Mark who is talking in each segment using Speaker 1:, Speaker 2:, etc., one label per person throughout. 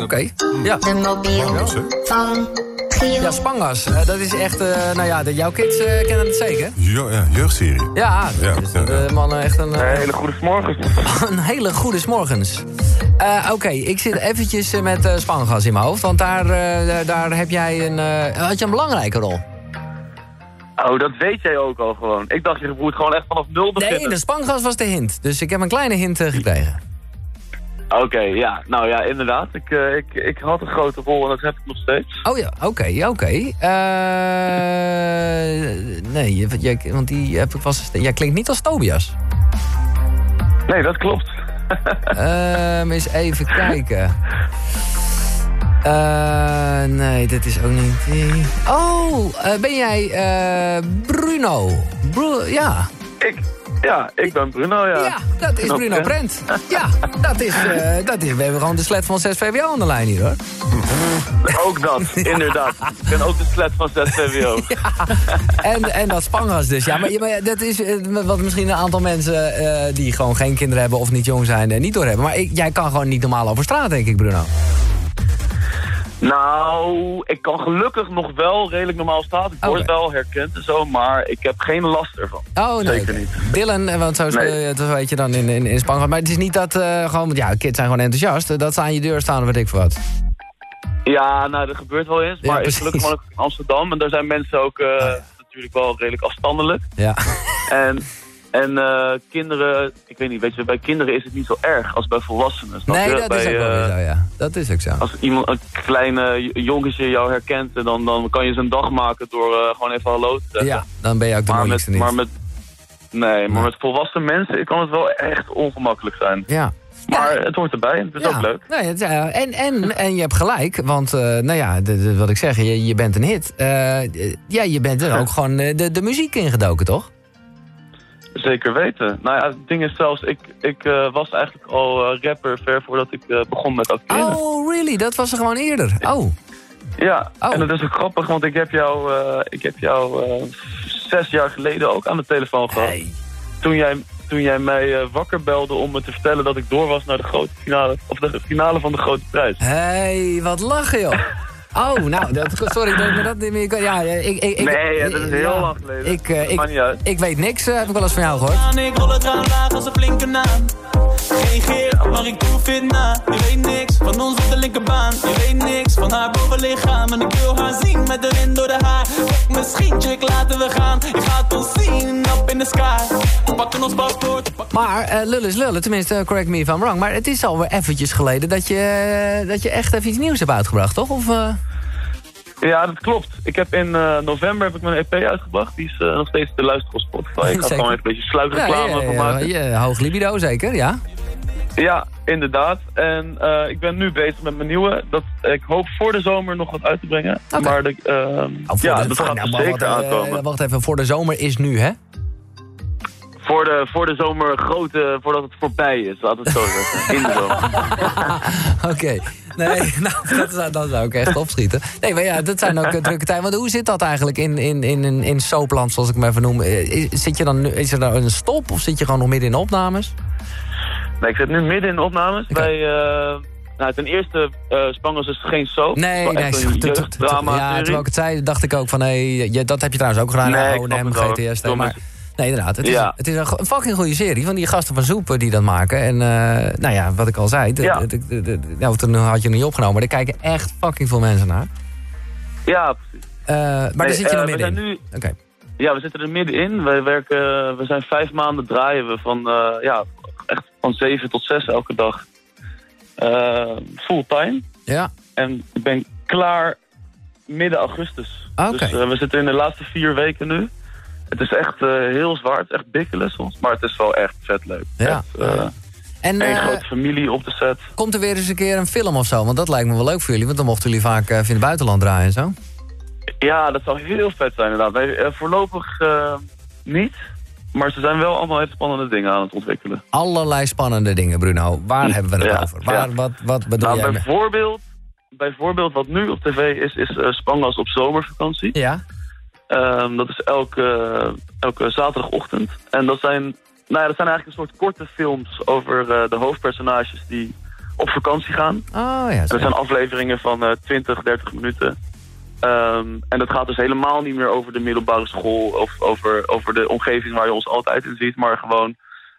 Speaker 1: Oké. Ja.
Speaker 2: De mobiel van
Speaker 1: ja,
Speaker 2: Giel.
Speaker 1: Spangas. eh, dat is echt, eh, nou ja, de, jouw kids eh, kennen het zeker.
Speaker 3: Jo- ja, jeugdserie.
Speaker 1: Ja,
Speaker 3: Ja,
Speaker 1: dus
Speaker 3: ja,
Speaker 1: dat, eh, mannen echt een, eh,
Speaker 4: Hele goede morgens.
Speaker 1: een hele goede 's morgens. Eh, Oké, ik zit eventjes eh, met eh, Spangas in mijn hoofd, want daar, eh, daar- daar heb jij een, eh, had je een belangrijke rol.
Speaker 4: Oh, dat weet jij ook al gewoon. Ik dacht, je moet gewoon echt vanaf nul
Speaker 1: Nee,
Speaker 4: beginnen.
Speaker 1: de Spangas was de hint, dus ik heb een kleine hint eh, gekregen.
Speaker 4: Oké, ja. Nou ja, inderdaad. Ik, eh, ik, ik had een grote rol en dat heb ik nog steeds.
Speaker 1: Oh ja, oké, oké. Eh, nee, je- jij, want die heb ik vast... Jij klinkt niet als Tobias. Oh.
Speaker 4: Nee, dat klopt.
Speaker 1: Ehm, eens even kijken. Eh, nee, dat is ook niet die. Oh, eh, ben jij eh, Bruno? Bru- ja.
Speaker 4: Ik, ja, ik ben Bruno, ja.
Speaker 1: ja, dat is
Speaker 4: Knap,
Speaker 1: Bruno
Speaker 4: hè?
Speaker 1: Brent. Ja, dat is, eh, dat is... We hebben gewoon de slet van 6 VWO aan de lijn hier, hoor.
Speaker 4: Ook dat, inderdaad. Ik ben ook de slet van ZVWO.
Speaker 1: En, en dat Spangas dus. Ja, maar, ja, maar ja, dat is eh, wat misschien een aantal mensen eh, die gewoon geen kinderen hebben of niet jong zijn en niet doorhebben. Maar ik, jij kan gewoon niet normaal over straat, denk ik, Bruno.
Speaker 4: Nou, ik kan gelukkig nog wel redelijk normaal staan. Ik word
Speaker 1: Oké.
Speaker 4: wel herkend en zo, maar ik heb geen last ervan.
Speaker 1: Oh, nee.
Speaker 4: Zeker niet.
Speaker 1: Dylan, eh, want zo is,
Speaker 4: Nee.
Speaker 1: eh, dat weet je dan in, in, in Spangas. Maar het is niet dat eh, gewoon, want ja, kids zijn gewoon enthousiast. eh, Dat ze aan je deur staan of weet ik veel wat.
Speaker 4: Ja, nou, dat gebeurt wel eens.
Speaker 1: Ja,
Speaker 4: Maar ik
Speaker 1: precies. Oh,
Speaker 4: gelukkig woon ik in Amsterdam. En daar zijn mensen ook eh, natuurlijk wel redelijk afstandelijk.
Speaker 1: Ja.
Speaker 4: En, en eh, kinderen, ik weet niet, weet je, bij kinderen is het niet zo erg als bij volwassenen. snap
Speaker 1: Nee,
Speaker 4: je?
Speaker 1: dat
Speaker 4: bij,
Speaker 1: is ook wel
Speaker 4: eh,
Speaker 1: weer zo, ja. Dat is ook zo.
Speaker 4: Als iemand, een klein eh, j- jongetje jou herkent, eh, dan, dan kan je zijn dag maken door eh, gewoon even hallo te zeggen.
Speaker 1: Ja, dan ben je ook de
Speaker 4: maar
Speaker 1: moeilijkste
Speaker 4: met,
Speaker 1: niet.
Speaker 4: maar met, nee, maar met volwassen mensen kan het wel echt ongemakkelijk zijn.
Speaker 1: Ja.
Speaker 4: Maar het hoort erbij, en het is ook leuk.
Speaker 1: Nee, het, eh, en, en, en je hebt gelijk, want eh, nou ja, de- de- wat ik zeg, je, je bent een hit. Eh, eh, ja, je bent er ook gewoon eh, de, de muziek ingedoken, toch?
Speaker 4: Zeker weten. Nou ja, het ding is zelfs, ik, ik eh, was eigenlijk al eh, rapper ver voordat ik eh, begon met acteren.
Speaker 1: Oh, really? Dat was er gewoon eerder. Oh,
Speaker 4: Ja,
Speaker 1: Oh.
Speaker 4: en dat is ook grappig, want ik heb jou, eh, ik heb jou eh, zes jaar geleden ook aan de telefoon gehad.
Speaker 1: hey.
Speaker 4: Toen, jij, toen jij mij eh, wakker belde om me te vertellen dat ik door was naar de grote finale, of de finale van de grote prijs.
Speaker 1: hey, wat lachen, joh. Oh, nou, dat, sorry dat ik me dat niet meer... kan- Ja, eh, ik, ik, ik,
Speaker 4: Nee, ja, dat is heel
Speaker 1: ja,
Speaker 4: lang geleden.
Speaker 1: Ik, eh,
Speaker 4: Dat maakt niet
Speaker 1: ik,
Speaker 4: uit.
Speaker 1: ik weet niks, eh, heb ik wel eens van jou gehoord.
Speaker 5: aan, ik rol het raam laag als een flinke naam. Geen geer, maar ik doe fit na. Je weet niks van ons op de linkerbaan. Je weet niks van haar bovenlichaam. En ik wil haar zien met de wind door de haar. Kijk, misschien, chick, laten we gaan. Je gaat ons zien, up in de sky. We pakken ons paspoort.
Speaker 1: Maar eh lullen is lullen, tenminste, eh, correct me if I'm wrong. Maar het is alweer eventjes geleden dat je, eh, dat je echt even iets nieuws hebt uitgebracht, toch? Of... eh?
Speaker 4: Ja, dat klopt. Ik heb in eh, november heb ik mijn EP uitgebracht. Die is eh, nog steeds te luisteren op Spotify. Ik
Speaker 1: Zeker.
Speaker 4: had gewoon even een beetje sluitreclame
Speaker 1: ja,
Speaker 4: van maken.
Speaker 1: ja, ja, hoog libido zeker, ja.
Speaker 4: Ja, inderdaad. En eh, ik ben nu bezig met mijn nieuwe. Dat, ik hoop voor de zomer nog wat uit te brengen.
Speaker 1: Oké.
Speaker 4: Maar de, ehm,
Speaker 1: Nou, voor
Speaker 4: ja,
Speaker 1: de-
Speaker 4: dat
Speaker 1: voor-
Speaker 4: gaat
Speaker 1: nou,
Speaker 4: er
Speaker 1: maar
Speaker 4: zeker
Speaker 1: wat, eh,
Speaker 4: aankomen.
Speaker 1: wacht even, voor de zomer is nu, hè?
Speaker 4: Voor de, voor de zomer grote, voordat het voorbij is, laat het zo zeggen. In de zomer.
Speaker 1: Oké. Nee, nou, dat zou, dat zou ik echt opschieten. Nee, maar ja, dat zijn ook eh, drukke tijden. Want hoe zit dat eigenlijk in, in, in, in, in soapland, zoals ik maar even noem? Eh, is- Zit je dan, nu- is er dan een stop of zit je gewoon nog midden in opnames?
Speaker 4: Nee, ik zit nu midden in de opnames.
Speaker 1: Oké.
Speaker 4: Bij, eh, nou, ten eerste, eh Spangels is geen soap.
Speaker 1: Nee,
Speaker 4: Het is wel
Speaker 1: nee.
Speaker 4: echt
Speaker 1: t-
Speaker 4: Een
Speaker 1: t- t- t-
Speaker 4: jeugddrama.
Speaker 1: ja, terwijl ik het zei, dacht ik ook van, hé, je- dat heb je trouwens ook gedaan. oh,
Speaker 4: Nee,
Speaker 1: Nee,
Speaker 4: ik snap
Speaker 1: O&M,
Speaker 4: het wel.
Speaker 1: GTS, nee,
Speaker 4: Domme-
Speaker 1: maar... Nee, inderdaad. Het is,
Speaker 4: Ja.
Speaker 1: het is een, go- een fucking goede serie van die gasten van Zoepen die dat maken. En eh, nou ja, wat ik al zei, de-
Speaker 4: Ja.
Speaker 1: de- de- de- de- nou, toen had je het niet opgenomen, maar daar kijken echt fucking veel mensen naar.
Speaker 4: ja, precies.
Speaker 1: Eh, maar daar
Speaker 4: Nee,
Speaker 1: zit je
Speaker 4: eh,
Speaker 1: nog
Speaker 4: we
Speaker 1: midden
Speaker 4: zijn
Speaker 1: in.
Speaker 4: nu
Speaker 1: Oké.
Speaker 4: Ja, we zitten er middenin. Wij werken, eh, we zijn vijf maanden draaien we van, eh, ja, echt van zeven tot zes elke dag. Eh, fulltime.
Speaker 1: Ja,
Speaker 4: En ik ben klaar midden augustus.
Speaker 1: Oké.
Speaker 4: Dus eh, we zitten in de laatste vier weken nu. Het is echt eh, heel zwaar, het is echt bikkelen soms, maar het is wel echt vet leuk.
Speaker 1: Ja.
Speaker 4: Echt, eh,
Speaker 1: en
Speaker 4: één
Speaker 1: eh,
Speaker 4: grote familie op de set.
Speaker 1: komt er weer eens een keer een film of zo? Want dat lijkt me wel leuk voor jullie, want dan mochten jullie vaak eh, in het buitenland draaien en zo.
Speaker 4: Ja, dat zou heel vet zijn inderdaad. Nee, eh, voorlopig eh, niet, maar ze zijn wel allemaal hele spannende dingen aan het ontwikkelen.
Speaker 1: Allerlei spannende dingen, Bruno. Waar hebben we het
Speaker 4: Ja,
Speaker 1: over? Waar,
Speaker 4: ja.
Speaker 1: wat, wat bedoel
Speaker 4: nou,
Speaker 1: jij? met-
Speaker 4: bijvoorbeeld, bijvoorbeeld wat nu op tv is, is eh, Spangas op zomervakantie.
Speaker 1: Ja,
Speaker 4: Ehm, dat is elke, elke zaterdagochtend. En dat zijn, nou ja, dat zijn eigenlijk een soort korte films over eh, de hoofdpersonages die op vakantie gaan.
Speaker 1: Oh ja.
Speaker 4: Dat
Speaker 1: zo.
Speaker 4: zijn afleveringen van eh 20, 30 minuten. Ehm, en dat gaat dus helemaal niet meer over de middelbare school of over, over de omgeving waar je ons altijd in ziet, maar gewoon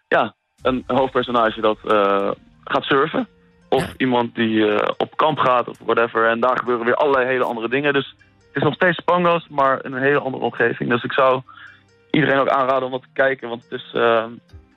Speaker 4: ja, een hoofdpersonage dat eh, gaat surfen. Of iemand die eh, op kamp gaat of whatever. En daar gebeuren weer allerlei hele andere dingen. Dus het is nog steeds Spango's, maar in een hele andere omgeving. Dus ik zou iedereen ook aanraden om dat te kijken. Want het is eh,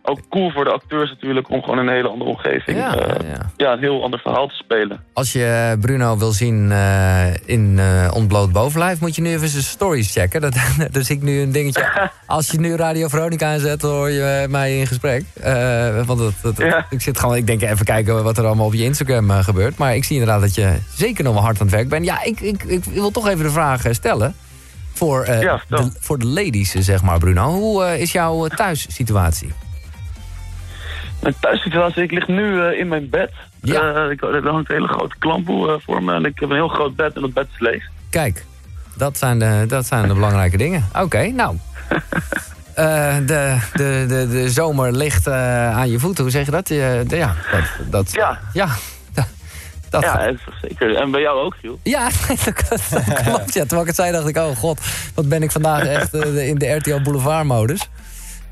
Speaker 4: ook cool voor de acteurs natuurlijk om gewoon in een hele andere omgeving
Speaker 1: Ja,
Speaker 4: eh,
Speaker 1: ja.
Speaker 4: ja, een heel ander verhaal te spelen.
Speaker 1: Als je Bruno wil zien eh, in eh, Ontbloot Bovenlijf, moet je nu even zijn stories checken. Dat, daar zie ik nu een dingetje. Als je nu Radio Veronica aanzet, hoor je eh, mij in gesprek. Eh, want dat, dat-
Speaker 4: Ja.
Speaker 1: ik zit gewoon, ik denk even kijken wat er allemaal op je Instagram eh, gebeurt. Maar ik zie inderdaad dat je zeker nog wel hard aan het werk bent. Ja, ik, ik, ik wil toch even de vraag eh, stellen. Voor, eh,
Speaker 4: Ja, vertel.
Speaker 1: de, voor de ladies, eh, zeg maar, Bruno. Hoe eh, is jouw eh, thuissituatie?
Speaker 4: Mijn thuissituatie, ik lig nu eh, in mijn bed.
Speaker 1: Ja.
Speaker 4: Eh, ik, er hangt een hele grote klamboe eh, voor me en ik heb een heel groot bed en dat bed is leeg.
Speaker 1: Kijk, dat zijn de, dat zijn de belangrijke dingen. Oké, nou. Eh, de, de, de, de zomer ligt eh, aan je voeten, hoe zeg je dat? Je- de- ja, dat, dat,
Speaker 4: Ja.
Speaker 1: Ja, dat, dat-
Speaker 4: Ja, dat is zeker. En bij jou ook, Giel.
Speaker 1: ja, dat klopt. dat klopt, Ja. Terwijl ik het zei, dacht ik, oh god, wat ben ik vandaag echt eh, in de RTL Boulevard-modus.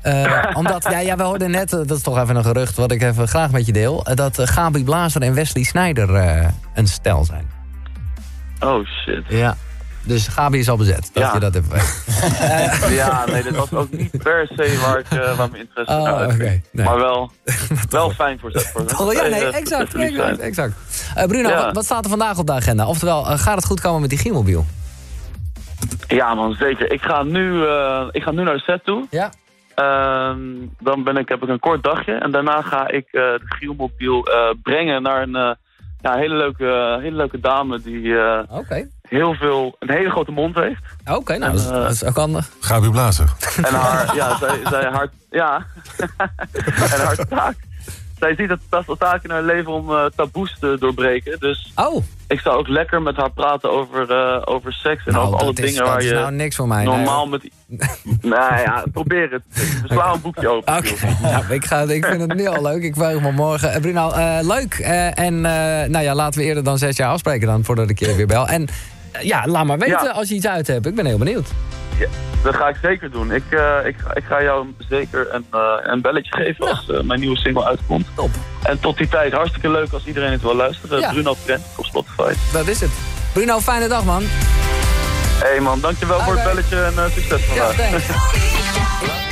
Speaker 1: Eh, omdat, ja, ja, we hoorden net, eh, dat is toch even een gerucht wat ik even graag met je deel, eh, dat eh, Gabi Blazer en Wesley Snijder eh, een stel zijn.
Speaker 4: Oh shit.
Speaker 1: Ja. Dus Gabi is al bezet, dat
Speaker 4: Ja.
Speaker 1: je dat even weet.
Speaker 4: Ja, nee, dat was ook niet per se waar, ik, eh, waar mijn interesse
Speaker 1: Oh,
Speaker 4: naar uitging.
Speaker 1: oké. Nee.
Speaker 4: Maar wel, wel fijn voor ze. Voor ze.
Speaker 1: Oh ja,
Speaker 4: Eh,
Speaker 1: nee,
Speaker 4: dat- dat
Speaker 1: exact.
Speaker 4: ze lief zijn.
Speaker 1: exact, exact. Eh, Bruno,
Speaker 4: Ja.
Speaker 1: wat, wat staat er vandaag op de agenda? Oftewel, eh, gaat het goed komen met die Gielmobiel?
Speaker 4: Ja man, zeker. Ik ga nu, eh, ik ga nu naar de set toe.
Speaker 1: Ja.
Speaker 4: Ehm, dan ben ik, heb ik een kort dagje. En daarna ga ik eh, de Gielmobiel eh, brengen naar een eh, ja, hele, leuke, eh, hele leuke dame die... eh,
Speaker 1: Oké.
Speaker 4: heel veel, een hele grote mond heeft.
Speaker 1: Oké, nou,
Speaker 4: Eh,
Speaker 1: dat is, dat is ook handig.
Speaker 3: Gabi Blazer.
Speaker 4: En haar, ja, zij, zij haar, ja. en haar taak. Zij ziet het als taak in haar leven om eh, taboes te doorbreken. Dus
Speaker 1: Oh,
Speaker 4: ik zou ook lekker met haar praten over, eh, over seks en
Speaker 1: nou,
Speaker 4: over alle
Speaker 1: dat, is,
Speaker 4: dingen
Speaker 1: dat
Speaker 4: waar
Speaker 1: is
Speaker 4: je
Speaker 1: nou niks voor mij. nee,
Speaker 4: normaal
Speaker 1: hoor.
Speaker 4: met... nou ja, probeer het. We slaan een boekje open.
Speaker 1: Oké,
Speaker 4: joh.
Speaker 1: nou, ik, ga, ik vind het nu al leuk. Ik verheug me morgen. Eh, Bruno, eh, leuk. Eh, en eh, nou ja, laten we eerder dan zes jaar afspreken dan, voordat ik je weer bel. En eh, ja, laat maar weten
Speaker 4: Ja.
Speaker 1: als je iets uit hebt. Ik ben heel benieuwd.
Speaker 4: Dat ga ik zeker doen. Ik, eh, ik, ga- ik ga jou zeker een, eh, een belletje geven
Speaker 1: Nou.
Speaker 4: als eh, mijn nieuwe single uitkomt.
Speaker 1: Top.
Speaker 4: En tot die tijd, hartstikke leuk als iedereen het wil luisteren.
Speaker 1: Ja.
Speaker 4: Bruno Trent op Spotify.
Speaker 1: Dat is het. Bruno, fijne dag, man.
Speaker 4: Hé hey man, dankjewel voor het
Speaker 1: Bye bye.
Speaker 4: belletje en eh, succes
Speaker 1: Ja,
Speaker 4: vandaag.
Speaker 1: thanks.